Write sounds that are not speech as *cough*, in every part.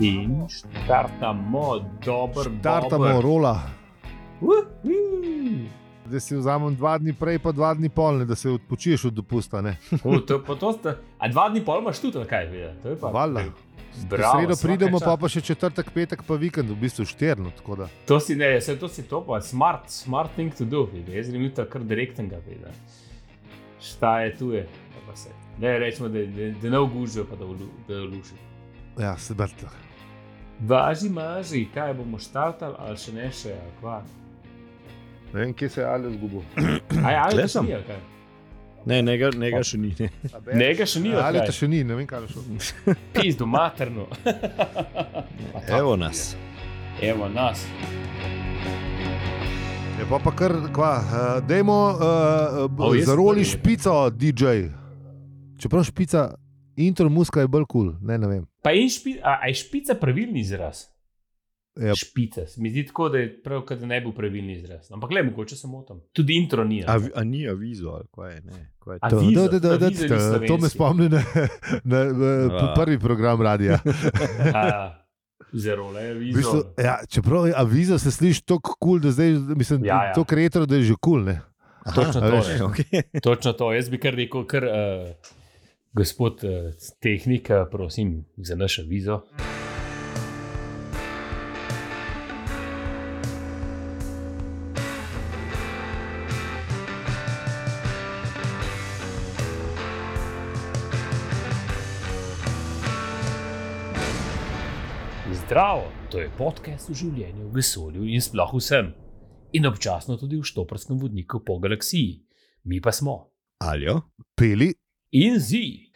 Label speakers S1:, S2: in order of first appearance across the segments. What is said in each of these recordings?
S1: In štartamo, dober
S2: Tartamo, rola.
S1: Uh,
S2: Zdaj si vzamem dva dni prej, pa dva dni polne, da se odpočiješ od dopusta. ne.
S1: to, pa to sta, a dva dni pol imaš tudi, ali kaj je. To je pa.
S2: Valjda.
S1: Bravo,
S2: Sredo
S1: svaka
S2: pridemo, pa
S1: čast.
S2: pa še četrtek, petek, pa vikend, v bistvu šterno. tako da.
S1: To si ne, vse to si to pa, smart, smart thing to do, vidi. jaz grem ta kar direktnega, vidi. Šta je tu je, pa pa se. Ne, rečemo, da, da, da ne ogužijo, pa da ulu- da luši.
S2: Ja, smrtno.
S1: Važi, maži, kaj bomo štartali, ali še ne še, ali kva.
S2: Ne vem, kje se je ali zgubil.
S1: Aj, ali
S3: Tle
S1: to še
S3: sem.
S1: ni, ali kaj.
S3: Ne, ne, ne, ga še ni. Ne.
S1: Ne, ga še ni,
S2: ali
S1: ali
S2: te
S1: kaj.
S2: še ni, ne vem, kaj je šlo.
S1: Pizdu
S2: *laughs*
S1: materno.
S3: *laughs* Evo nas.
S1: Evo nas.
S2: Je pa, pa kar, kva, uh, dajmo uh,
S1: O,
S2: uh,
S1: Oh, jaz sem
S2: zaroli
S1: prvi, ne.
S2: špico, DJ. Čeprav špica, intro muska je bolj kul, cool. ne, ne vem.
S1: Pa in špica, a, a je špica pravilni izraz?
S2: Ja,
S1: Špica. Se Mi zdi tako, da je prav, kot da ne bo pravilni izraz. Ampak le, mogoče se motim. Tudi intro ni.
S3: A, vi- a ni avizo, ali kaj je? Ne, kaj je
S1: Avi-
S3: to?
S1: Avizo,
S2: da, da, da,
S1: avizo ni
S2: da, to me
S1: slovenski.
S2: spomni na, na, na
S3: Ja.
S2: prvi program radia.
S1: A, Zelo le,
S2: V
S1: vidiš.
S2: Bistvu, ja, čeprav je avizo se sliši tako kul, cool, da zdaj, mislim,
S1: Ja, ja.
S2: to kretro, da je že kul. Cool,
S1: Točno
S2: a
S1: to,
S2: veš.
S3: *laughs*
S1: ne.
S3: Okay.
S1: Točno to. Jaz bi kar rekel, kar, uh, gospod uh, tehnik, eh, prosim, za našo vizo. Zdravo, to je podcast o življenju, vesolju in sploh vsem. In občasno tudi v štoprskem vodniku po galaksiji. Mi pa smo.
S3: Aljo,
S2: Peli,
S1: In zi.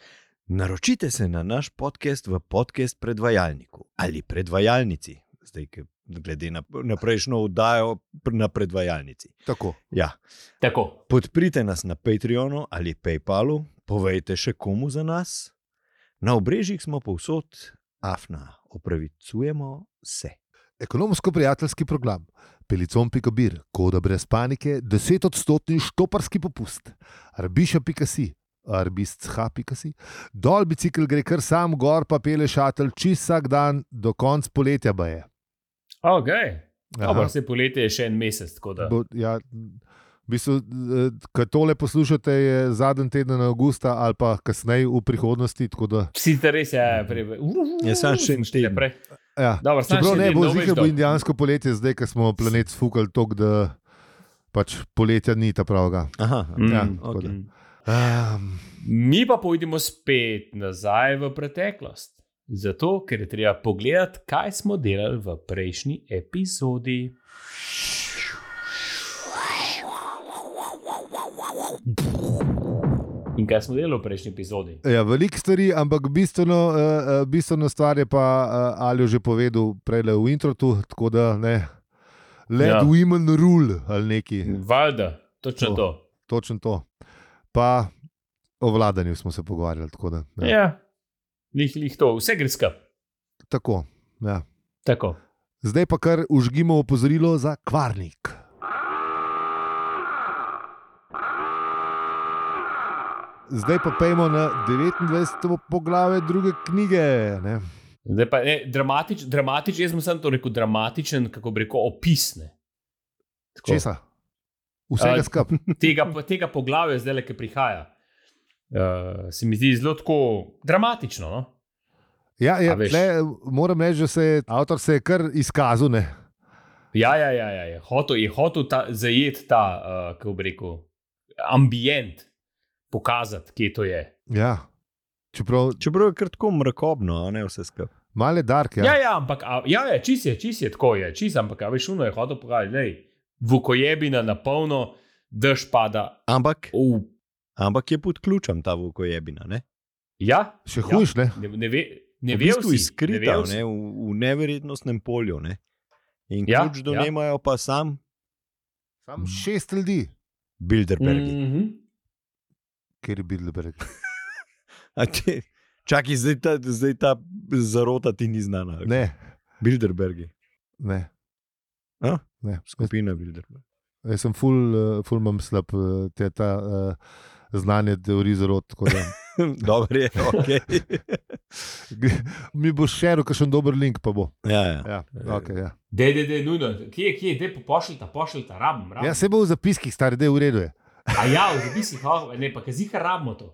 S3: naročite se na naš podcast v podcast predvajalniku ali predvajalnici. Zdaj, ke- glede na, na prejšnjo oddajo pr- na predvajalnici.
S2: tako.
S3: Ja.
S1: Tako.
S3: Podprite nas na Patreonu ali PayPalu, povejte še komu za nas. Na obrežjih smo povsod, afna, opravičujemo se.
S2: Ekonomsko-prijateljski program, pelicom.bir, koda brez panike, 10-odstotni štoparski popust, arbiša.si, arbischa.si, dol bicikl gre kar sam gor, pa pele šatelj čist vsak dan, do konca poletja pa je.
S1: Ok.
S2: Aha.
S1: Dobro, se poletje je še en mesec, tako da.
S2: Bo, ja, v bistvu, eh, ko tole poslušate, je zadnji teden avgusta ali pa kasneje v prihodnosti. tako Da,
S1: Vsi te res je, prej.
S2: Mhm.
S3: Ja, samo še en teden.
S2: ja.
S1: Dobro, samo
S2: Čeprav
S1: še
S2: ne
S1: en
S2: bo
S1: teden,
S2: zihar,
S1: dobro.
S2: bo indijansko poletje, zdaj, ko smo planet sfukali tako, da pač poletja ni ta pravega.
S3: Aha,
S1: Mm,
S2: Ja,
S1: mm.
S2: tako da.
S1: Mm.
S2: Um,
S1: Mi pa pojdimo spet nazaj v preteklost. Zato, ker je treba pogledati, kaj smo delali v prejšnji epizodi. In kaj smo delali v prejšnji epizodi?
S2: ja, Veliko stvari, ampak bistveno, uh, bistveno stvar je pa uh, ali že povedal prej v introtu, tako da ne. Let
S1: Ja.
S2: ja. women rule ali neki,
S1: Valjda, točno
S2: To.
S1: to.
S2: točno to. Pa o vladanju smo se pogovarjali. tako Da,
S1: Ja, ja. Lih, lih to, vse gre skup.
S2: Tako. Ja.
S1: Tako.
S2: Zdaj pa kar užgimo opozorilo za kvarnik. Zdaj pa pojmo na 29. poglavje druge knjige. Ne?
S1: Zdaj pa, ne, dramatič, dramatič, jaz sem samo to rekel, dramatičen, kako bi rekel, opisne.
S2: Česa? Vsega
S1: A-
S2: skupaj.
S1: *laughs* Tega, tega poglavja, zdaj le, ki prihaja, uh, se mi zdi zelo tako dramatično. No?
S2: Ja, ja,
S1: A veš.
S2: tle, moram reči, da se je avtor se je kar izkazal. Ne?
S1: Ja, ja, ja, ja, ja. Hotel, je hotel ta, zajet ta, uh, kako bi rekel, ambient, pokazati, kje to je.
S2: Ja. Čeprav
S3: Čeprav je kar tako mrakobno, a ne vse skupaj.
S2: male dark.
S1: Ja,
S2: Ja.
S1: ja, ja ampak a, ja, ja, čist je, čist je tako, je, čist, ampak a, veš, uno je hotel pokazati, da je vukojebina na polno, dež pada.
S3: Ampak,
S1: V,
S3: ampak je pod ključem ta vukojebina. Ne,
S1: ja,
S2: Še hujš, ne?
S1: Ne, ne ve, ne
S3: v
S1: ve
S3: bistvu
S1: vsi, ne
S3: izkrita
S1: vejo
S3: ne
S1: vsi.
S3: ne, v, v neverjetnostnem polju. Ne. In
S1: Ja,
S3: ja, ključ do
S1: ja.
S3: ja. nemajo pa sam
S2: Sam šest ljudi,
S3: Bilderbergi. Mm.
S1: Mhm.
S2: ker je bil Bilderberg.
S3: Te, čakaj, zdaj ta, zdaj ta zarota ti ni znana. Ne.
S2: Ne,
S3: Bilderbergi,
S2: ne.
S3: A?
S2: ne.
S3: skupina Bilderberg. *laughs*
S2: Jaz eh, sem ful, eh, ful imam slab eh, te ta uh, znanje teorij zarod. tako da. *laughs*
S3: Dobro je, ok.
S2: Mi boš še rekel, kakšen dober link pa bo.
S3: *laughs* Ja, ja.
S2: Ja, okay, ja.
S1: Dej, dej, dej, nujno. Kje je, kje je, dej, pošljite, pošljite, rabim. rabim.
S2: ja se bo v zapiskih, stari, da je v redu. je.
S1: A ja, v zapisih, oh, ne, pa kazika rabimo to.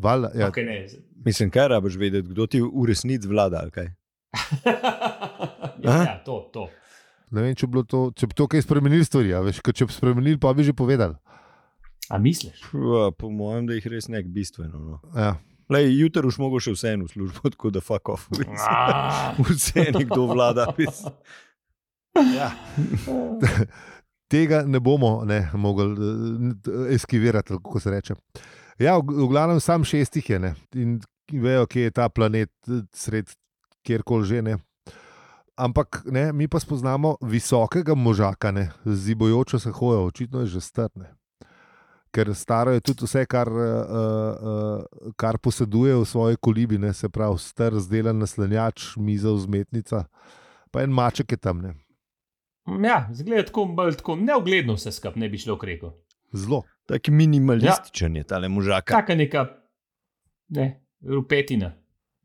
S2: Valjda,
S1: Ja.
S2: Ja.
S1: Okay, ne. z- *laughs*
S3: Mislim, kaj rabiš vedeti, kdo ti v resnici vlada. ali Kaj?
S1: ja,
S3: Aha.
S1: ja, to, to.
S2: Ne vem, če bi, bilo to, če bi to kaj spremenili, stvari, a veš, ker če bi spremenili, pa bi že povedali.
S1: A
S3: *laughs*
S1: misliš?
S3: Pua, po mojem, da jih res nek bistveno. No.
S2: Ja.
S3: Lej, jutri boš mogel še vseeno v službo, tako da fuck off. *laughs* mislim.
S1: Ah.
S3: Vse nekdo vlada. *laughs* mislim. Ja.
S2: Tega ne bomo ne, mogli eh, n- t- eskivirati, kako se reče. Ja, v, v glavnem sam šestih je ne. in vejo, kje je ta planet, eh, sred kjerkoli že ne. Ampak ne, mi pa spoznamo visokega možaka, ne, z zibojočo se hojo, očitno je že strne. Ker staro je tudi vse, kar, eh, eh, eh, kar poseduje v svoji kolibi, ne, se pravi, str, zdelan naslanjač, miza, vzmetnica. Pa en maček je tam, ne.
S1: Ja, zgleda tako, bolj tako neugledno vse skupaj, ne bi šlo kreko.
S2: zelo.
S3: Tako minimalističen je ta možak.
S1: Taka neka, ne, rupetina.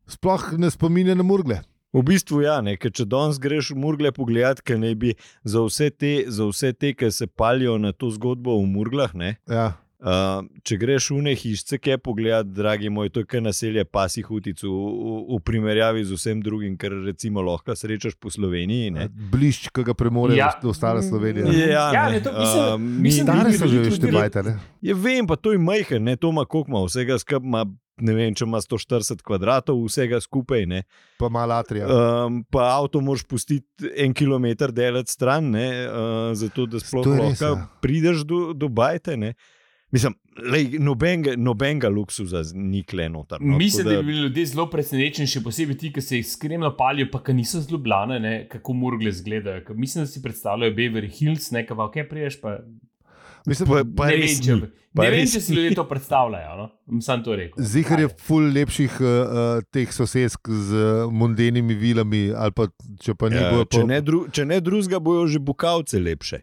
S2: Sploh ne spominja na murgle.
S3: V bistvu ja, ne, ker če danes greš v Murgle pogledat, ker naj bi za vse te, za vse te ki se palijo na to zgodbo o Murglah, ne,
S2: Ja.
S3: uh, če greš v ne hišce, ki je pogledat, dragi moj, to je kar naselje pasih utic v, v, v primerjavi z vsem drugim, kar recimo lahko srečaš po Sloveniji. Ne.
S2: Blišč, ki ga premore
S1: Ja.
S2: ja. ostala Slovenija.
S1: Ja,
S3: Ja, ne, Ehm,
S1: ne, to mislim,
S3: a,
S1: mislim, da
S3: mi-
S2: Stare
S1: bi
S2: so
S1: bili
S2: že
S1: tudi-
S2: veštebajte. ne?
S3: Ja, vem, pa to je majhen, ne, to ima koliko ima, vsega skupaj, ne vem, če ima 140 kvadratov, vsega skupaj, ne.
S2: Pa malo
S1: Uh,
S2: atrija.
S3: Um, pa avto moraš pustiti en kilometr delati stran, ne, uh, zato da sploh
S2: To je res,
S3: lahko
S2: ja.
S3: prideš do, do bajte. Ne. Mislim, lej, nobenega, nobenega luksuza z- ni klenotar. No,
S1: Mislim,
S3: tako
S1: da bi bili ljudje zelo presenečeni, še posebej ti, ki se jih skremno palijo, pa ki niso z Ljubljana, ne, kako morgle izgledajo. Ker Mislim, da si predstavljajo Beverly Hills, nekaj pa kaj priješ. Pa,
S2: Mislim,
S3: pa, pa
S1: ne,
S3: res
S1: vem, če,
S3: ni. pa
S1: ne vem,
S3: res
S1: če si
S3: ni.
S1: ljudje to predstavljajo. No? Bom Sam to rekel.
S2: Zihar je ful lepših uh, uh, teh sosesk z uh, mundenimi vilami, ali pa če pa ni
S3: Ja,
S2: bojo.
S3: če,
S2: Pa...
S3: ne dru, če ne drugega, bojo že bukavce lepše.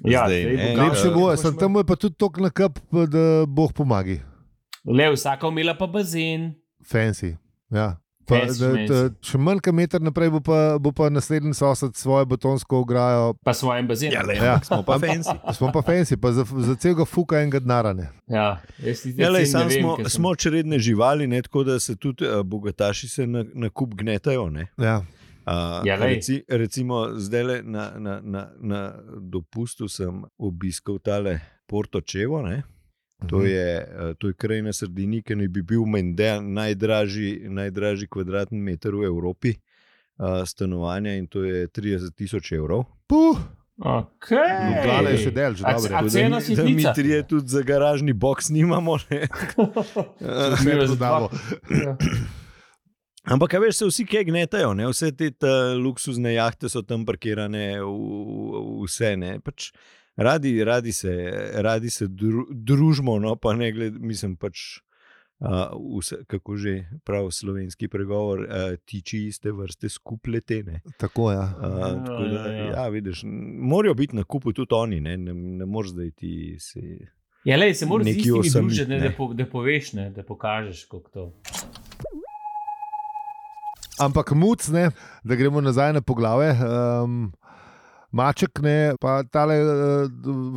S1: Ja,
S3: Zdaj,
S1: zdaj,
S3: ne,
S1: bo
S3: Lepše
S2: Lepše
S1: Gaučer-
S2: boje, sem tam je pa tudi tok na kap, da boh pomagi.
S1: Le vsaka imela pa bazen.
S2: Fancy. Ja. Pa,
S1: Fancy,
S2: da, da,
S1: fancy.
S2: če manj kot meter naprej, bo pa, bo pa naslednji sosed svojo betonsko ograjo.
S1: Pa svojem bazenu.
S3: Ja, lej,
S2: Ja.
S3: ja. smo pa fensi.
S2: Smo pa fancy, pa za, za celega fuka enega denarane.
S1: Ja, jaz ti
S3: Ja, lej,
S1: zdaj
S3: sam
S1: ne vem,
S3: smo,
S1: ker sem-
S3: smo čredne živali, ne, tako da se tudi uh, bogataši se na, na kup gnetajo. Ne.
S2: Ja.
S3: Uh,
S1: Ja, lej.
S3: reci, recimo, zdaj na, na, na, na dopustu sem obiskal tale Porto Čevo. Ne? To
S2: Mhm.
S3: je, eh, to je kraj na Sardini, ki naj bi bil menda najdražji, najdražji kvadratni meter v Evropi eh, stanovanja in to je 30 tisoč evrov.
S2: Puh,
S1: Okay.
S2: Ljubljana je še del, že
S1: A- a-
S2: dobro. je.
S3: Tako da
S1: cena
S3: mi- da mi
S1: sitnica? *laughs*
S3: trije tudi za garažni boks nimamo. ne. Eh,
S2: Vse
S1: Miro,
S2: prodamo.
S1: Ja.
S3: Ampak, a veš, se vsi kaj gnetajo, ne? vse te ta, luksuzne jahte so tam parkirane, v, v- vse ne. Pač, radi, radi se, radi se dru, družimo, no pa ne gled, mislim pač. Uh, vse, kako že pravi slovenski pregovor, uh, tiči iste vrste skupletene.
S2: Tako ja.
S3: Uh, tako
S1: Ja,
S3: da,
S1: ja, ja.
S3: ja, vidiš, n- morajo biti na kupu tudi oni, ne, ne, ne moreš zdaj ti. Se...
S1: Ja, lej, se moraš z
S3: Neki
S1: istimi
S3: osamit,
S1: družiti, ne,
S3: ne.
S1: da, po, da poveš, ne, da pokažeš, kako to.
S2: Ampak muc, ne, da gremo nazaj na poglave. Um, maček ne, pa tale eh,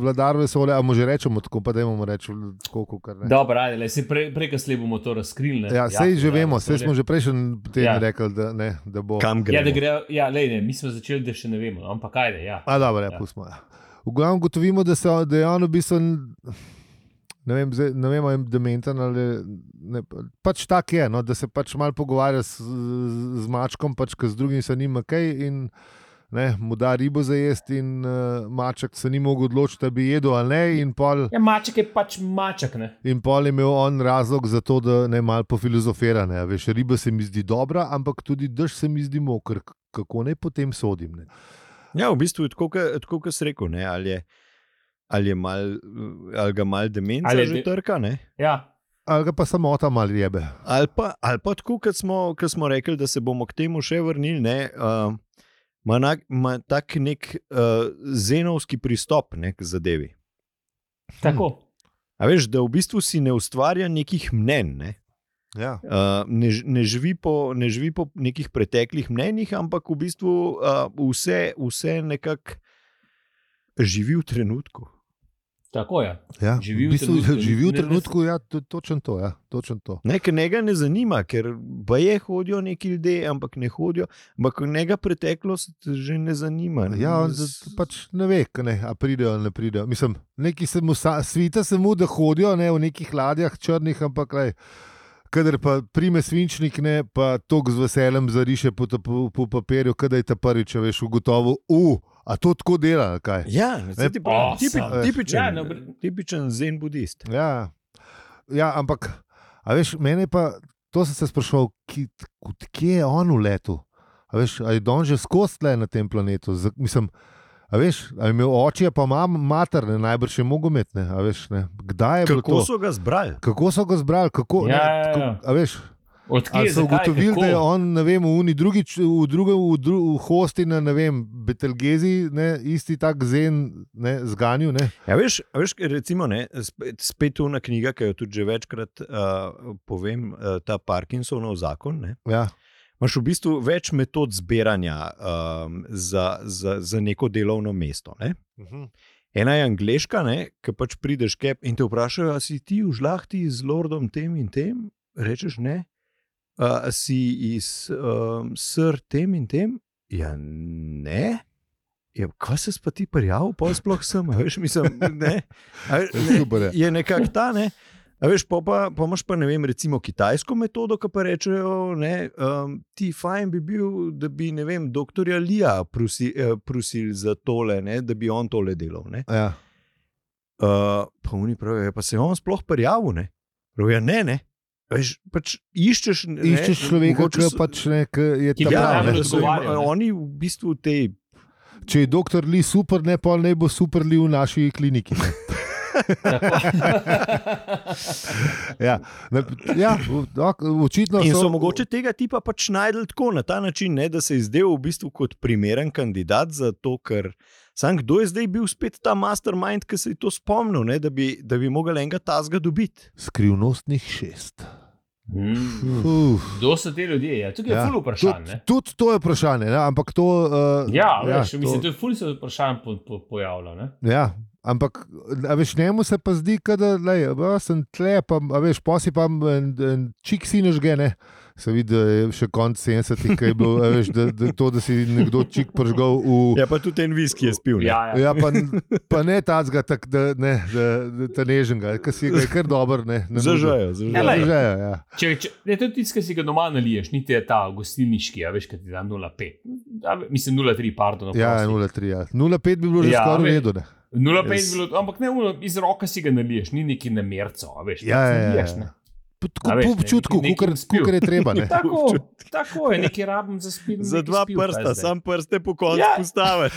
S2: vladar vesolja, a mu že rečemo tako, pa da imamo reči, tako kot kar ne.
S1: Dobro, ajde, le, se pre, prekasle bomo to razkrili. Ne?
S2: Ja, sej
S1: ja,
S2: že vemo,
S1: vesolje.
S2: sej smo že prejšnji teden
S1: Ja.
S2: ja. rekli, da, ne, da bo.
S3: Kam
S1: Ja, da
S3: gre?
S1: gre, ja, lej, ne, mi smo začeli, da še ne vemo, ampak ajde. Ja.
S2: A, dobro, ja,
S1: Ja.
S2: pustimo, ja. V glavnem gotovimo, da, se, da je on v bistvu. Ne vem, zdaj, ne vem, ali je dementen ali ne. Pač tak je, no, da se pač malo pogovarja s, z, z mačkom, pač ker z drugim se nima kaj in ne, mu da ribo za jesti, in uh, maček se ni mogel odločiti, da bi jedel ali ne. In pol,
S1: ja, maček je pač maček. Ne?
S2: in pol je imel on razlog za to, da ne malo pofilozofira. Ne, a veš, riba se mi zdi dobra, ampak tudi dež se mi zdi mokr, k- kako naj potem sodim. Ne.
S3: Ja, v bistvu je tako, ke- tako kot si rekel, ne, ali, je, ali, je mal, ali ga mal demenca
S1: Ali je
S3: ali že
S1: de-
S3: trka. Ne?
S1: Ja.
S2: Ali ga pa samota malo jebe.
S3: Ali pa, ali pa tako, kot smo, kot smo rekli, da se bomo k temu še vrnili, ne, uh, ima uh, ma tak nek uh, zenovski pristop ne, k zadevi.
S1: Tako.
S3: A veš, da v bistvu si ne ustvarja nekih mnen, ne?
S2: Ja.
S3: Uh, ne, ž- ne, živi po, ne živi po nekih preteklih mnenjih, ampak v bistvu uh, vse, vse nekako živi v trenutku.
S1: Tako je.
S2: Ja.
S1: Živi v
S2: v bistvu,
S1: trenutku,
S2: živi v
S1: ne- ne-
S2: trenutku, ja, to, točen to. Ja, točen to.
S3: Ne, ker njega ne zanima, ker pa je hodijo neki ljudje, ampak ne hodijo, ampak njega preteklost že ne zanima. ne.
S2: Ja, on
S3: Z-
S2: z- pač ne ve, k- ne, a pridejo ali ne pridejo. Mislim, neki se mu sa, svita se mu, da hodijo ne, v nekih ladjah črnih, ampak lej, kadar pa prime svinčnik, ne, pa tok z veseljem zariše po, ta- po, po papirju, kadar je ta prvič, a veš, ugotovo, u, a to tako dela, ali kaj.
S3: Ja, ne, tipi,
S1: awesome.
S3: tipi, tipičen,
S1: Ja,
S3: ja,
S1: ne,
S3: no,
S1: br-
S3: tipičen zen budist.
S2: Ja, ja ampak, a veš, mene pa, to sem se sprašoval, ki- od kje je on v letu. A veš, a je don že skozi tle na tem planetu. Z, mislim, a veš, a je imel oči, a pa ima mater, ne, najbrž je mogometne. a Veš, ne. Kdaj je bilo
S3: Kako
S2: to?
S3: so ga zbrali?
S2: Kako so ga zbrali? Kako,
S1: Ja,
S2: ne,
S1: ja,
S2: tako,
S1: ja.
S2: a veš,
S1: Odkje
S2: ali
S1: je
S2: so ugotovili, da je
S1: on?
S2: on ne vem, v uni drugi, č- v drugem, v, dru, v hosti na ne vem, Betelgezi, ne, isti tak zen, ne, zganju, ne.
S3: Ja, veš, a veš, recimo, ne, spet, spet ona knjiga, ki jo tudi že večkrat uh, povem, uh, ta Parkinsonov zakon. Ne,
S2: Ja,
S3: Imáš v bistvu več metod zbiranja um, za, za, za neko delovno mesto. Ne?
S2: Mhm.
S3: Ena je angliška, ne, ki pač prideš kep in te vprašajo, ali si ti v žlahti z lordom tem in tem, rečeš ne, uh, si iz um, sr tem in tem, ja ne. Ja, kaj se pa ti prijavil, pa sploh sem, a veš, mislim, ne. A, veš, ne
S2: super je.
S3: je nekako ta. Ne? A veš, pa, pa, pa imaš pa ne vem, recimo kitajsko metodo, ki pa rečejo, ne, um, ti fajn bi bil, da bi ne vem, doktorja Lija prosi, eh, prosili za tole, ne, da bi on tole delal. Ne.
S2: Ja.
S3: Uh, pa oni pravijo, "Ja, pa se je on sploh prijavil, ne. Pravijo, "Ja, ne, ne. A Veš, pač iščeš, ne,
S2: Iščeš človeka,
S3: mogoče
S2: ki
S3: so-
S2: pač ne, ki je
S1: Ki
S2: tam
S1: ga
S3: Ja,
S1: ne
S3: ne,
S1: najbolj
S2: pravi.
S3: so,
S1: odgovarja, ne.
S3: oni v bistvu te
S2: Če je doktor Li super, ne pa ne bo super Li v naši kliniki.
S1: *laughs*
S2: ne. Ja, ne, ja, v- ok, očitno
S3: In so mogoče tega tipa pač najdel tako na ta način, ne, da se je zdel v bistvu kot primeren kandidat za to, ker sam kdo je zdaj bil spet ta mastermind, ki se je to spomnil, ne, da, bi, da bi mogel enega tazga dobiti.
S2: skrivnostnih šest.
S1: Hmm.
S2: Uf,
S1: Kdo so ti ljudje? Ja, tukaj je
S2: Ja,
S1: ja. ful vprašanje.
S2: tudi, tudi to je vprašanje, ne? ampak to. Uh,
S1: Ja, ja, veš, to... mislim, to je ful se vprašanje po, po, pojavlja. Ne?
S2: Ja, ampak, a veš, njemu se pa zdi, ka da lej, "Va, sem tle, pa a veš, posi pa en, en čik sineš gene. Se vidi, da je še konc 70-ih, ko je bilo, a veš, da, da to, da si nekdo čik pržgal v.
S3: Ja, pa tudi en viski je spil.
S1: Ja, ja.
S2: Ja, pa, n- pa ne tacga, tak, da, ne, da, da, da nežnega, ki si ga je kar dober. Ne, ne
S3: Zažajo, zažajo.
S1: lej.
S2: Zažajo, ja.
S1: Če, če, ne, to je tisto, kar si ga doma naliješ, ni te ta gostilniški, a veš, kaj ti da 0,5. A ve- Mislim 0,3, pardon.
S2: Ja,
S1: oprosti.
S2: 0,3. Ja. 0,5 bi bilo že
S1: Ja,
S2: ja, skoraj
S1: veš.
S2: redo. ne.
S1: 0,5
S3: Jaz-
S1: yes. bilo, ampak ne, uno, iz roka si ga naliješ, ni neki namerco, a veš.
S2: Ja,
S1: pač
S2: ja, ja,
S1: naliješ,
S2: ja.
S1: ne.
S2: Po- Tako
S1: A veš,
S2: po
S1: ne,
S2: občutku,
S1: nekaj spil.
S2: kot je
S1: *laughs*
S2: treba. Ne.
S1: Tako, tako je, neki rabim za spil.
S3: Za
S1: nekaj
S3: dva
S1: spil, kaj
S3: prsta,
S1: zdaj.
S3: sam prste po koncu
S1: Ja.
S3: ja. postavi.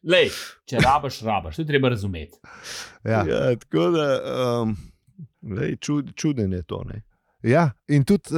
S1: Lej, če rabaš, rabaš, to je treba razumeti.
S2: *laughs* Ja.
S3: ja, tako da, um, lej, čud, čuden je to. Ne.
S2: Ja, in tudi uh,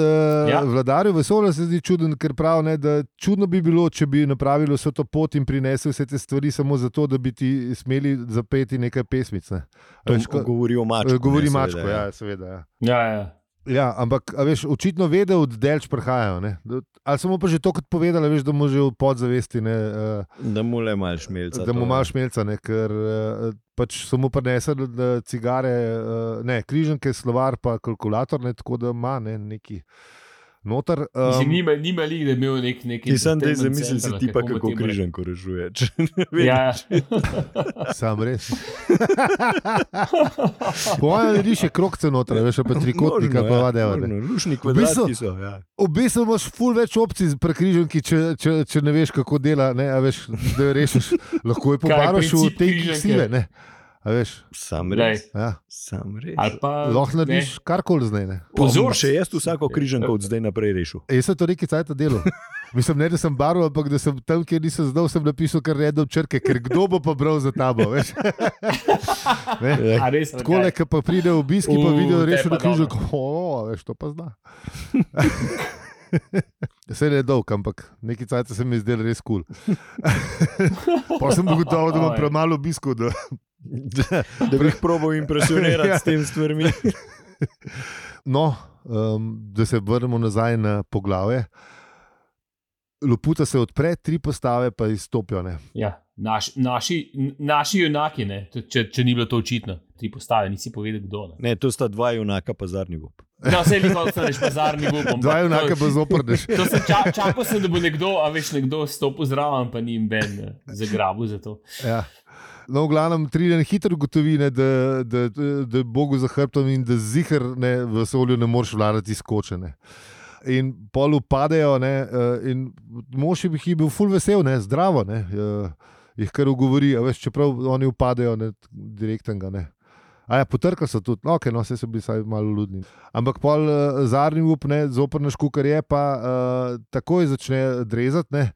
S1: Ja.
S2: ja. vladarju vesolja se zdi čuden, ker pravi, ne, da čudno bi bilo, če bi napravili vso to pot in prinesli vse te stvari samo zato, da bi ti smeli zapeti nekaj pesmic. Ne. A
S3: To
S2: veš, ko-
S3: govori o mačku.
S2: eh, govori
S3: ne, seveda,
S2: mačko, ja, seveda. Ja.
S1: Ja, ja.
S2: Ja, ampak a veš, očitno ve, da od delč prihajajo. ne. Da- Ali samo pa že to, kot povedala, veš, da mu že v podzavesti, ne, eh,
S3: Da mu le malo šmelca.
S2: da mu
S3: to,
S2: malo
S3: ja.
S2: šmelca, ne, ker eh, pač samo prenese da- da cigare, eh, ne, križanke, slovar, pa kalkulator, ne, tako da ima ne, neki noter. ehm, em,
S1: Mislim, nima, nima li, da je imel nek neki.
S3: Ti sam dej
S1: entertainment
S3: zamisli si
S1: center,
S3: ti pa,
S1: mu
S3: kako
S1: temu
S3: križen korežuje.
S1: reče. *laughs* Ja,
S2: Sam res. *laughs* Pojem, da riše krok cenotra, veš, a pa trikotnik, ali pa
S1: ja,
S2: vadeva. ne.
S3: Lušni
S2: bistvu-
S3: kvadratki so. Ja.
S2: V bistvu imaš ful več opcij z prekrižanki, če, če, če ne veš, kako dela, ne, a veš, da jo rešiš. *laughs* Lahko je
S1: Kaj je
S2: pobaraš v
S1: princip
S2: te
S1: križanke?
S2: sile, ne. A veš,
S3: Sam
S1: Glej,
S3: res.
S2: ja.
S3: Sam res.
S1: ali pa.
S2: Lahko
S1: ne.
S2: narediš karkoli z njene.
S1: Pozor!
S3: Bom Še jaz vsako križanko od zdaj naprej rešil.
S2: Jaz sem to neki cajt delal.
S1: *laughs*
S2: Mislim, ne, da sem barval, ampak da sem tam, kjer nisem znal, sem napisal kar redom črke, ker kdo bo pa bral za tabo.
S1: *laughs*
S2: veš. ne?
S3: Ja,
S1: A res,
S2: Tako le, ki pa pride obisk in pa
S1: Ja. U,
S2: vidijo
S1: te
S2: rešeno
S1: pa
S2: križanko, o, veš, to pa zna. *laughs* Vse je dolg, ampak neki cajt
S1: *laughs*
S2: se mi je zdel res kul. Cool. pa sem bil gotovo, da imam
S1: Oj.
S2: premalo obiskov, da,
S1: *laughs*
S3: da bi jih probo impresionirati
S2: Ja.
S3: s tem stvarmi.
S2: No, um, da se vrnemo nazaj na poglavje. Loputa se odpre, tri postave pa izstopijo. Ne?
S1: Ja, naš, naši, n- naši junaki, ne, t- če, če ni bilo to očitno, ti postave, nisi povedal, kdo. Ne,
S3: Ne, to sta dva junaka, pa zadnji gob.
S1: no, vse je bilo, da rečeš, pazarni gubom.
S2: Dva enaka
S1: *laughs*
S2: pa zoprneš.
S1: To sem ča, čakal, sem, da bo nekdo, a veš, nekdo stopil zraven, pa ni jim ben eh, zagrabil za to. *laughs*
S2: Ja. No, v glavnem, Triljan hitro ugotovi, ne, da, da, da, da je Bogu za hrbtom in da zihar ne, v vesolju ne moreš vladati skočene. In pol upadejo, ne, eh, in mož je bil- je bil ful vesel, ne, zdravo, ne, eh, jih kar ugovori, a veš, čeprav oni upadejo ne, direktnega. Ne. A ja, potrkali so tudi, no, okay, no vse so bili vsaj malo ludni. Ampak pol eh, zadnji up, ne, zoprn škukar je, pa uh, takoj začne drezati, ne,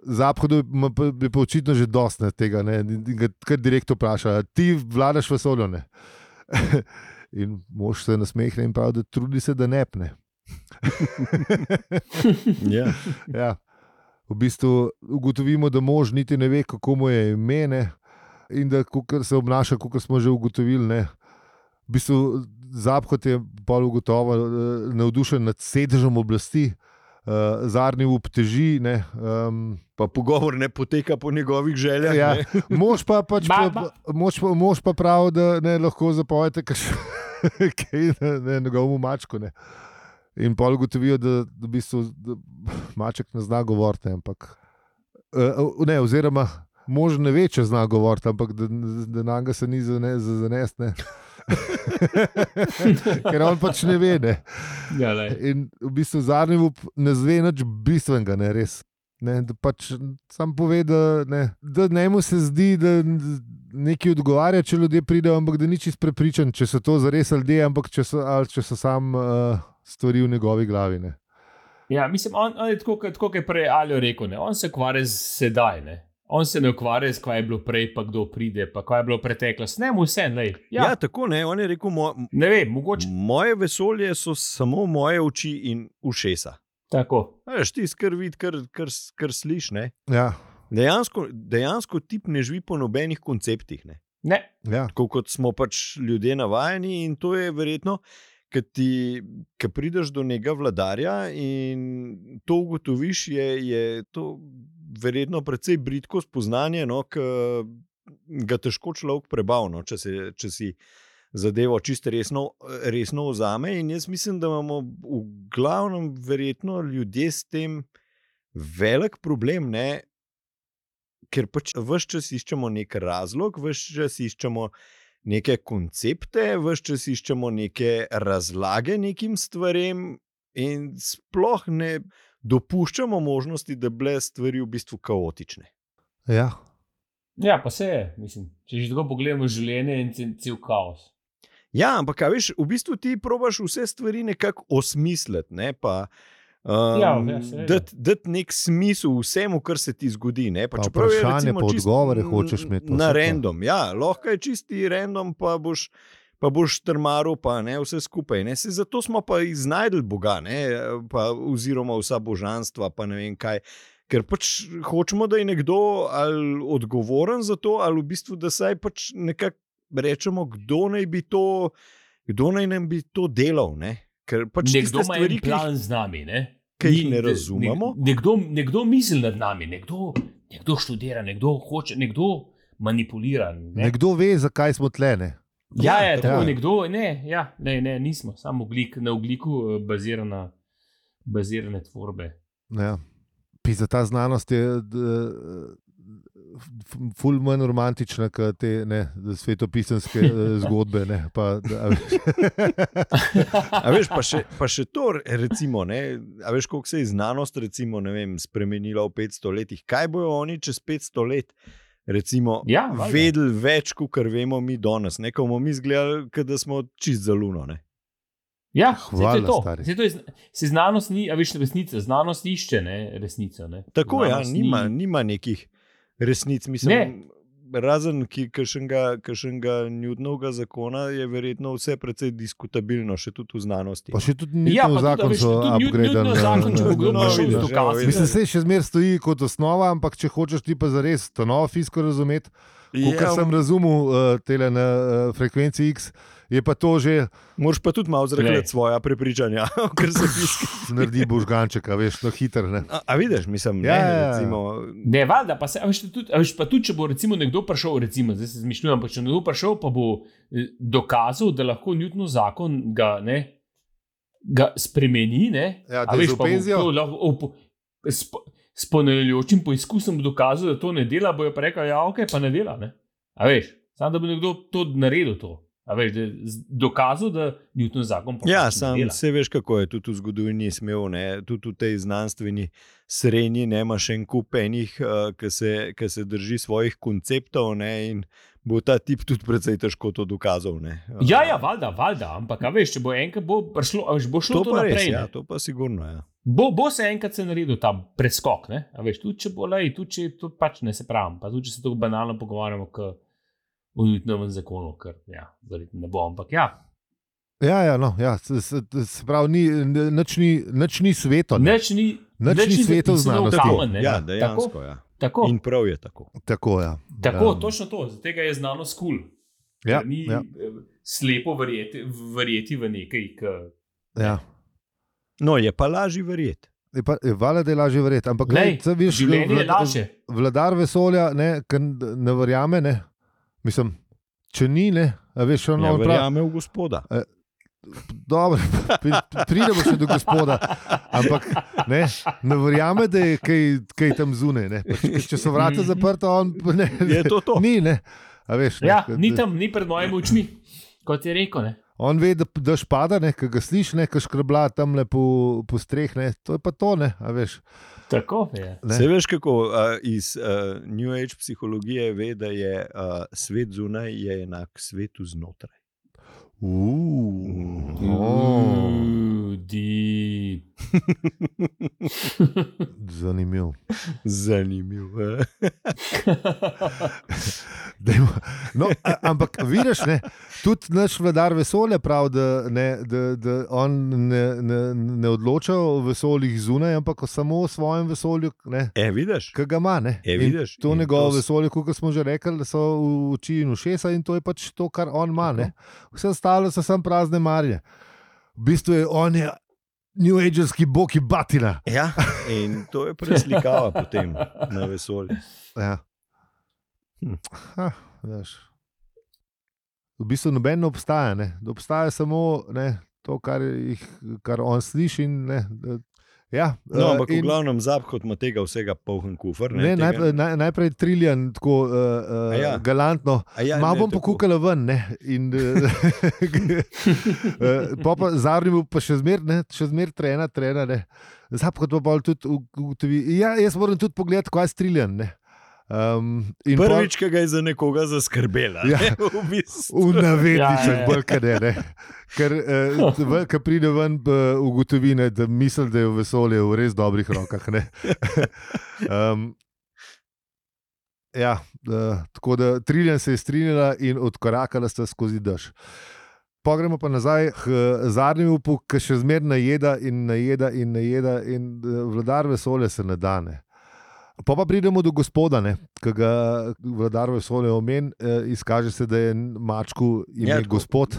S2: Zahodu ima pa- je pa očitno že dosti ne, tega, ne, in ga kar direktno vpraša, "A ti vladaš vesolju. ne?" *laughs* In mož se nasmehne in pravi, da trudi se, da ne pne.
S3: Ja.
S2: Ja. V bistvu ugotovimo, da mož niti ne ve, kako mu je ime ne, in da kakor se obnaša, kot smo že ugotovili. Ne. V bistvu Zaphod je pol ugotovo eh, navdušen nad sedežem oblasti, uh, zadnji upteži. Ne, um,
S3: Pa pogovor ne poteka po njegovih željah.
S2: Ja,
S3: ne.
S2: *laughs* mož pa, pač
S1: Ba,
S2: pa,
S1: ba.
S2: mož, pa, mož pa pravi, da ne lahko zapojete, kaj *laughs* je njegovemu mačku. Ne. In pa ugotovijo, da, da, v bistvu, da maček ne zna govoriti. ne, Ampak, eh, ne, oziroma, mož ne ve, če zna govoriti, ampak da, da na njega se ni zane- za zanesne. Ker on pač ne ve. Ne.
S1: Ja, lej.
S2: In v bistvu zadnji up ne zve nič bistvenega, ne res. Ne, da pač sam pove, da, ne, da njemu se zdi, da nekaj odgovarja, če ljudje pridejo, ampak da ni čist prepričan, če so to zares ljudje, ampak če so, ali če so sam uh, stvari v njegovi glavi. Ne.
S1: ja, mislim, on, on je tako, kot- tako kot je prej Aljo rekel, ne, on se ukvarja z sedaj. Ne. On se ne ukvarja s kaj je bilo prej, pa kdo pride, pa kaj je bilo v preteklosti. Ne, mu vse, ne.
S3: Ja. ja,
S1: Ja,
S3: tako ne. On je rekel, mo
S1: ne vem, mogoče
S3: moje vesolje so samo moje oči in ušesa.
S1: tako.
S3: A Veš, ti skrbi, kar, kar, kar slišiš. ne.
S2: Ja,
S3: Dejansko, dejansko tip ne živi po nobenih konceptih. Ne?
S1: Ne,
S2: ja,
S3: tako kot smo pač ljudje navajeni, in to je verjetno. Ker ti, ki prideš do njega vladarja in to ugotoviš, je, je to verjetno precej britko spoznanje, no, ki ga težko človek prebavno, če, se, če si zadevo čisto resno, resno vzame. In jaz mislim, da imamo v glavnem, verjetno ljudje s tem velik problem, ne? ker pač vse čas iščemo nek razlog, vse čas iščemo neke koncepte, vse čas iščemo neke razlage nekim stvarem, in sploh ne dopuščamo možnosti, da bi bile stvari v bistvu kaotične.
S2: ja.
S1: ja, pa se je, mislim. Če že tako pogledamo življenje in cel, cel kaos.
S3: Ja, ampak, a veš, v bistvu ti probaš vse stvari nekako osmisliti, ne pa. Um,
S1: Ja, ja, seveda.
S3: dati dat nek smisel vsemu, kar se ti zgodi. Ne? Pa
S2: Pa
S3: čeprav je
S2: vprašanje,
S3: recimo
S2: pa
S3: čisto
S2: odgovore hočeš imeti, pa vse
S3: Na
S2: to.
S3: random, ja, lahko je čisti random, pa boš, pa boš trmaril, pa ne vse skupaj. Ne? Se, zato smo pa iznajdli Boga, ne? pa, oziroma vsa božanstva, pa ne vem kaj. Ker pač hočemo, da je nekdo ali odgovoren za to, ali v bistvu, da saj pač nekako rečemo, kdo naj bi to, kdo naj nam bi to delal. Ne? Ker pač
S1: nekdo
S3: tiste
S1: ima
S3: stvari,
S1: en
S3: ki jih-
S1: plan z nami. Ne?
S3: ki jih
S1: Ni-
S3: ne
S1: ne-
S3: razumemo.
S1: Nek, nekdo, nekdo misli nad nami, nekdo, nekdo študira, nekdo hoče, nekdo manipulira. Ne?
S2: Nekdo ve, zakaj smo tlene.
S1: ja, je, tako
S2: ja.
S1: ja. nekdo, ne, ja, ne, ne, nismo, samo oglik, na ogliku eh, bazirana, bazirane tvorbe.
S2: Ja. Pisa, ta znanost je d, f- ful manj romantična kot te ne, svetopisanske eh, zgodbe. Ne, pa, eh, da, a veš.
S3: A veš, pa še, pa še to, recimo, ne, a veš, koliko se je znanost recimo, ne vem, spremenila v 500 letih. Kaj bojo oni čez 500 let? Recimo,
S1: Ja, valjda.
S3: vedeli več, kot kar vemo mi danes. Nekaj bomo mi izgledali, kot da smo čist za luno. Ne?
S1: Ja, saj to je
S2: Hvala,
S1: to.
S2: stari.
S1: Saj to je zna- saj znanost ni, a veš, resnica, znanost išče ne, resnico. Ne.
S3: Tako je, ja,
S1: Znanost
S3: nima,
S1: ni-
S3: nima nekih resnic. Mislim,
S1: Ne.
S3: razen ki kašnega Newtonovega zakona, je verjetno vse precej diskutabilno, še tudi v znanosti.
S2: Pa še tudi ni ja, zakon,
S1: veš,
S2: so
S1: tudi
S2: upgraden.
S1: Newtonov zakon, če bo
S2: *laughs*
S1: kdo
S3: No,
S1: prišel z
S3: vidiš, ja,
S1: dokazi.
S3: vidiš.
S2: Mislim, se še zmeraj stoji kot osnova, ampak če hočeš ti pa zares to novo fisko razumeti, kot
S3: Ja,
S2: sem razumel, uh, tele na uh, frekvenci X, je pa to že
S3: Moraš pa tudi malo
S1: Glej.
S3: zrekati svoja prepričanja, *laughs* ker se piše.
S2: naredi božganček, a veš, no hiter. Ne?
S3: A, a vidiš, mislim,
S2: Ja,
S3: ne,
S2: ja, ja.
S3: recimo,
S1: Ne, valjda, pa, se, a veš, tudi, a veš, pa tudi, če bo recimo nekdo prišel, recimo, zdaj se zmišljujem, ampak če nekdo prišel, pa bo eh, dokazal, da lahko Newtonov zakon ga, ne, ga spremeni. Ne,
S2: Ja, da
S1: a
S2: je
S1: veš,
S2: z
S1: pa bo
S2: openzijo?
S1: to lahko opo- s po- s ponavljajočim poizkusom bo dokazal, da to ne dela, bojo pa rekel, ja, ok, pa ne dela. Ne. A veš, samo da bo nekdo to naredil. To. A veš, da je z- dokazal, da Newtonov zakon pa
S3: Ja,
S1: pač ne
S3: sam
S1: dela.
S3: se veš, kako je tudi v zgodovini smel, ne? tudi v tej znanstveni srednji, ne imaš en kup enih, eh, ki se, ki se drži svojih konceptov ne? in bo ta tip tudi precej težko to dokazal. Ne? Eh,
S1: Ja, ja, valjda, valjda, ampak a veš, če bo enkrat bo prišlo, a veš, bo šlo
S3: to,
S1: to,
S3: to pa
S1: naprej.
S3: res,
S1: ne.
S3: ja, to pa sigurno. Ja.
S1: Bo, bo se enkrat se naredil ta preskok, ne? A veš, tudi če bo lej, tudi če to pač ne se pravi, pa tudi če se tako banalno pogovarjamo k- o Newtonovem zakonu, ker ja, verjetno ne bo, ampak ja.
S2: Ja, ja, no, ja, se, se, se pravi, ni, n- nič, ni, nič ni sveto. Ne?
S1: Neč ni,
S2: Nič ni svetov
S1: nič ni
S2: znanosti.
S1: kamen,
S2: Tako,
S1: ne.
S3: ja,
S1: Tako,
S3: dejansko. Ja.
S1: tako,
S3: In prav je tako.
S2: Tako, ja.
S1: tako
S2: ja.
S1: točno to, zato je znano skul.
S2: Ja,
S1: Ker ni
S2: ja,
S1: eh, slepo verjeti, verjeti v nekaj, kar
S2: ja.
S3: No, je pa lažje verjeti.
S2: Je pa, je, vala, da je lažje verjeti. Ampak,
S1: Glej,
S2: glej, saj vidiš,
S1: življenje je
S2: vlada-
S1: lažje.
S2: vladar vesolja, ne, ki n- ne verjame. Ne. Mislim, če ni, ne, a veš, ono
S3: Ja,
S2: on pravi.
S3: verjame v gospoda.
S2: Dobro, pri- pri- pridemo še do gospoda. Ampak ne, ne verjame, da je kaj, kaj tam zunaj. ne. Pač, ke- Če so vrata zaprta, on pa ne.
S3: Je to to?
S2: Ni, ne. A veš, ne,
S1: Ja,
S2: ke-
S1: ni tam, ni pred mojimi očmi, kot je rekel. Ne?
S2: On ve, da, da špada, ne, ki ga slišiš, ne, ki škrbla tam lepo po streh, ne, to je pa to, ne, a veš.
S1: Tako je.
S2: Ne.
S3: Se veš, kako uh, iz uh, New Age psihologije ve, da je uh, svet zunaj je enak svetu znotraj.
S2: Uuu, o,
S1: Ooh, deep.
S2: Zanimivo.
S3: Zanimivo. eh.
S2: Dajmo- No, a- ampak vidiš, ne, tudi naš vladar vesolja pravi, da, ne, da, da on ne, ne, ne odloča o vesoljih zunaj, ampak o samo o svojem vesolju, ne,
S3: E, vidiš?
S2: ki ga ima. Ne.
S3: E,
S2: In
S3: vidiš?
S2: To
S3: In
S2: njegovo
S3: to s-
S2: vesolje, kot smo že rekli, da so v oči in ušesa in to je pač to, kar on ima. Ne. Vse ostalo so samo prazne marje. V bistvu je on je New Agerski bog in batina.
S3: Ja, in to je preslikava potem na vesolje.
S2: Ja.
S3: Hm.
S2: Ha, veš. v bistvu noben ne obstaja, ne? da obstaja samo ne, to, kar, jih, kar on sliši. In, ne, da, ja,
S3: No,
S2: eh,
S3: ampak v
S2: in-
S3: glavnem zapad ima tega vsega polhen kufr.
S2: Ne,
S3: Ne, tega-
S2: najprej, naj, najprej triljan, tako uh, uh,
S3: A
S2: ja.
S3: ja.
S2: galantno.
S3: A ja,
S2: Ja, Malo
S3: ne,
S2: bom
S3: tako.
S2: pokukala ven, ne. In,
S3: *laughs*
S2: uh, uh, Zarni bo pa še zmeraj, še zmeraj trena, trena. Ne. Zapad pa bolj tudi ugotovi. Ja, jaz moram tudi pogledati, kaj je triljan. ne. Um, in pol-
S3: Prvič, ki ga je za nekoga zaskrbela.
S2: Ja.
S3: Ja. Ne, *laughs* v bistvu.
S2: V navednicah,
S1: Ja, ja, ja.
S2: bolj kot ne. ne. Ker
S1: *laughs*
S2: eh, ko pride ven, eh, ugotovi, ne, da misli, da je vesolje v res dobrih rokah. ne. *laughs* um, ja, eh, tako da triljen se je strinjala in odkorakala sta skozi dež. Pogremo pa nazaj k zadnjemu upu, ki še zmeraj najeda in najeda in najeda, in eh, vladar vesolja se ne dane. Pa pa pridemo do gospoda, ne, ki ga vladar vesolja omen, eh, izkaže se, da je mačku ime
S3: Ja,
S2: ja,
S3: tako.
S2: gospod.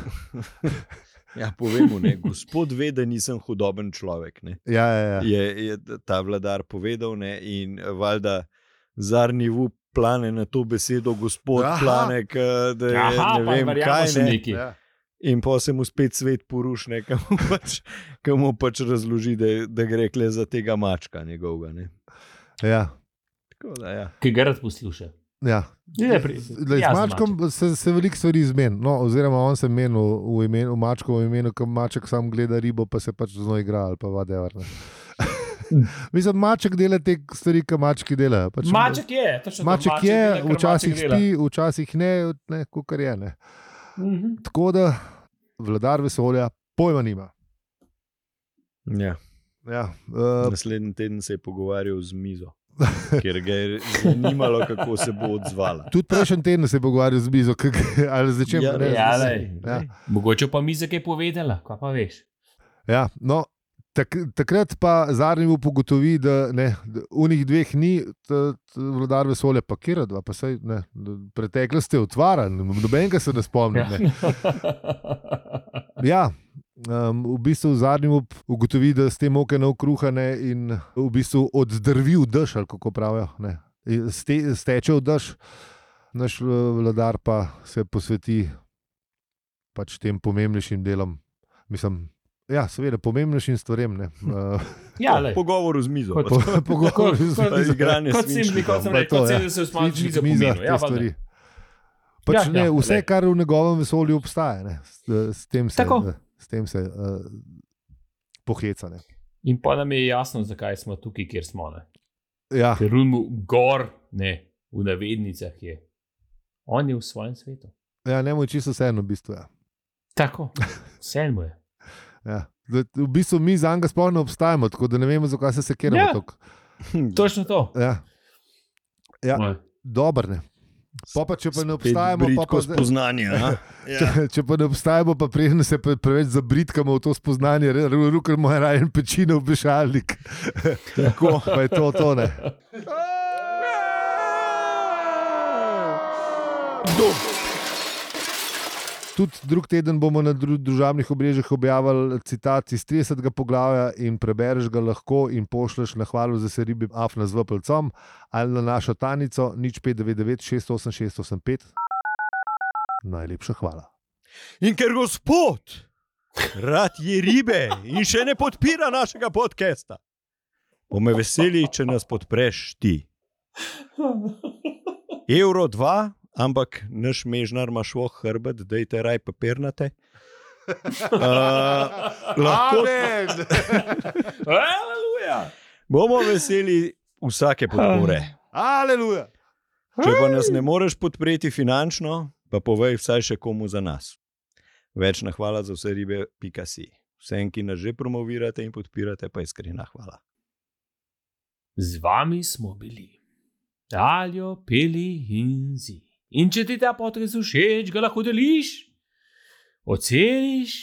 S3: Ja, povem mu, ne, gospod ve, da nisem hudoben človek. Ne.
S2: Ja, ja, ja.
S3: je, je ta vladar povedal. Ne, in eh, valjda zarnivu plane na to besedo, gospod
S2: Aha.
S3: Aha. Planek, eh, da je
S1: Aha,
S3: ne
S1: pa
S3: vem
S1: verjamem
S3: kaj
S1: še
S3: ne.
S2: Ja.
S1: nekaj.
S3: In pa se mu spet svet porušne, kam pač, ka mu pač razloži, da, da gre kle za tega mačka njegovega. Ne.
S2: ja,
S3: Tako Da, ja.
S1: ki ga rad posluša.
S2: ja.
S1: Ne, pri-
S2: Glej, Z
S1: jazen
S2: mačkom se, se veliko stvari zmeni. No, oziroma, on se meni v, v imenu, v mačkovem imenu, ko maček sam gleda ribo, pa se pač z njo igra ali pa vadevar.
S1: *laughs*
S2: Mislim, maček dela te stvari, ki mački delajo. Pač,
S1: Maček je, točno to,
S2: maček je,
S1: dela, kar
S2: včasih
S1: maček dela.
S2: spi, včasih ne, ne kar je. Ne.
S1: Mhm.
S2: Tako da vladar vesolja pojma nima.
S3: Ja.
S2: Ja, uh, eh,
S3: Naslednji teden se je pogovarjal z mizo. ker ga je zanimalo, kako se bo odzvala.
S2: Tudi prejšnji teden se je pogovarjal z Bizo, k- k- ali začem.
S3: Ja,
S2: ne,
S3: res,
S1: ja,
S2: z-
S1: lej.
S2: ja.
S1: Mogoče pa mi zakaj povedala, kaj pa veš.
S2: Ja, no, tak, takrat pa Zarnivu pogotovi, da ne, da unih dveh ni, t- t- vladar vesolja, pa kjer dva, pa sej ne. d- Preteklost je otvaran, nobenega se ne spomni.
S1: Ja.
S2: Ne. Ja, um, v bistvu Zarnivu ugotovi, da s tem oke na okruhane in v bistvu oddrvi v dež, ali kako pravijo. Ne. In Ste, steče v dež, naš eh, vladar pa se posveti pač tem pomembnejšim delom. Mislim, ja, seveda, pomembnejšim stvarem. ne. Eh,
S1: *laughs* ja, lej.
S3: Pogovor z mizo.
S1: Kot-
S3: pa
S2: Po, *laughs* pogovor z
S1: Kot-
S3: to
S1: kot-
S3: Igranje
S1: Kot sem rekel,
S3: svinčnikov.
S1: kot sem
S2: pa
S1: rekel,
S2: to,
S1: kot
S2: ja.
S1: sem se usmal
S2: Svičnik,
S1: z
S2: miza,
S1: mizo.
S2: te
S1: Ja, valjda.
S2: stvari. Pač
S1: Ja,
S2: ja, ne,
S1: ja,
S2: ja, vse,
S1: glej.
S2: le. kar v njegovem vesolju obstaja, ne, s, s tem se,
S1: Tako.
S2: eh, s tem se uh, poheca. Ne.
S1: In pa nam je jasno, zakaj smo tukaj, kjer smo. Ne?
S2: Ja,
S1: Ker rumu gor, ne, v navednicah je. On je v svojem svetu.
S2: ja ne moči so vseeno, v bistvu. Ja.
S1: Tako, vse mu je.
S2: Ja. Da, V bistvu mi za njega sploh ne obstajamo, tako da ne vemo, zakaj se sekiramo
S1: Ja.
S2: ja. tako.
S1: Točno to.
S2: Ja. Ja.
S1: Moj.
S2: Dober, ne. Pa pa, če pa ne obstajamo, pa pa
S3: Britko spoznanje. a?
S2: *laughs*
S3: Ja.
S2: Če, če pa ne obstajamo, pa preden se pre, preveč zabritkamo v to spoznanje, rukar moj rajen pečine v bešalnik. Tako *laughs* pa je to, to ne. Tudi drug teden bomo na dru družabnih obrežjih objavili citat iz 30. poglavja in prebereš ga lahko in pošleš na hvalo za se ribi Afna z VPLCom ali na našo tanico nič 599 68685. Najlepša hvala.
S3: In ker gospod rad je ribe in še ne podpira našega podcasta, bomo veseli, če nas podpreš ti. Euro 2, ampak naš mežnar ima šlo hrbet, da je te raj papirnate. Uh, lahko *laughs*
S1: Aleluja!
S3: bomo veseli vsake podpore.
S2: Aleluja!
S3: Če pa nas ne moreš podpreti finančno, pa povej vsaj še komu za nas. Več na hvala za vse ribe, pika si. Vsem, ki nas že promovirate in podpirate, pa iskrena hvala.
S1: Z vami smo bili, Aljo, Peli in Zi. In če ti ta potres všeč, ga lahko deliš, oceniš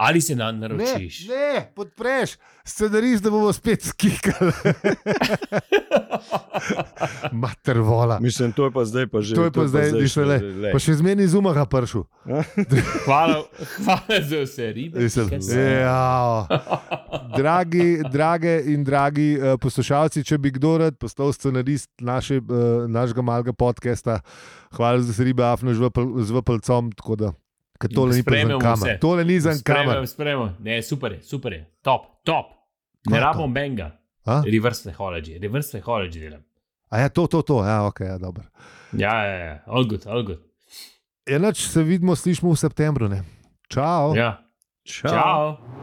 S1: ali se nam
S2: Ne,
S1: naročiš.
S2: ne, podpreš, scenarij, da bomo spet
S1: *laughs*
S2: skikali. Mater vola.
S3: Mislim, to je pa zdaj pa že.
S2: To je pa zdaj,
S3: že-
S2: dišele.
S3: lej.
S2: Pa še zmeni iz umaha pršu.
S1: Hvala, *laughs* hvala za vse ribe.
S2: Mislim,
S1: ki so-
S2: jao.
S1: *laughs*
S2: Dragi, drage in dragi eh, poslušalci, če bi kdo rad postal scenarist naše, eh, našega malega podcasta, hvala za ribe, afno z vplcom, tako da ker tole ni
S1: Sprejmemo
S2: za kamer.
S1: vse.
S2: Tole ni za kamer.
S1: Sprejemam, sprejemam. Ne, super je, super je, top, top. Ne
S2: Kaj to?
S1: rabim benga,
S2: A?
S1: reverse psychology, reverse psychology delam.
S2: A ja, to, to, to, ja, ok, ja, dobro. Ja,
S1: Ja, ja, ja, all good, all good.
S2: Enač se vidimo, slišimo v septembru. Ne? Oh. Čau.
S1: Ja,
S3: Čau.
S1: čau.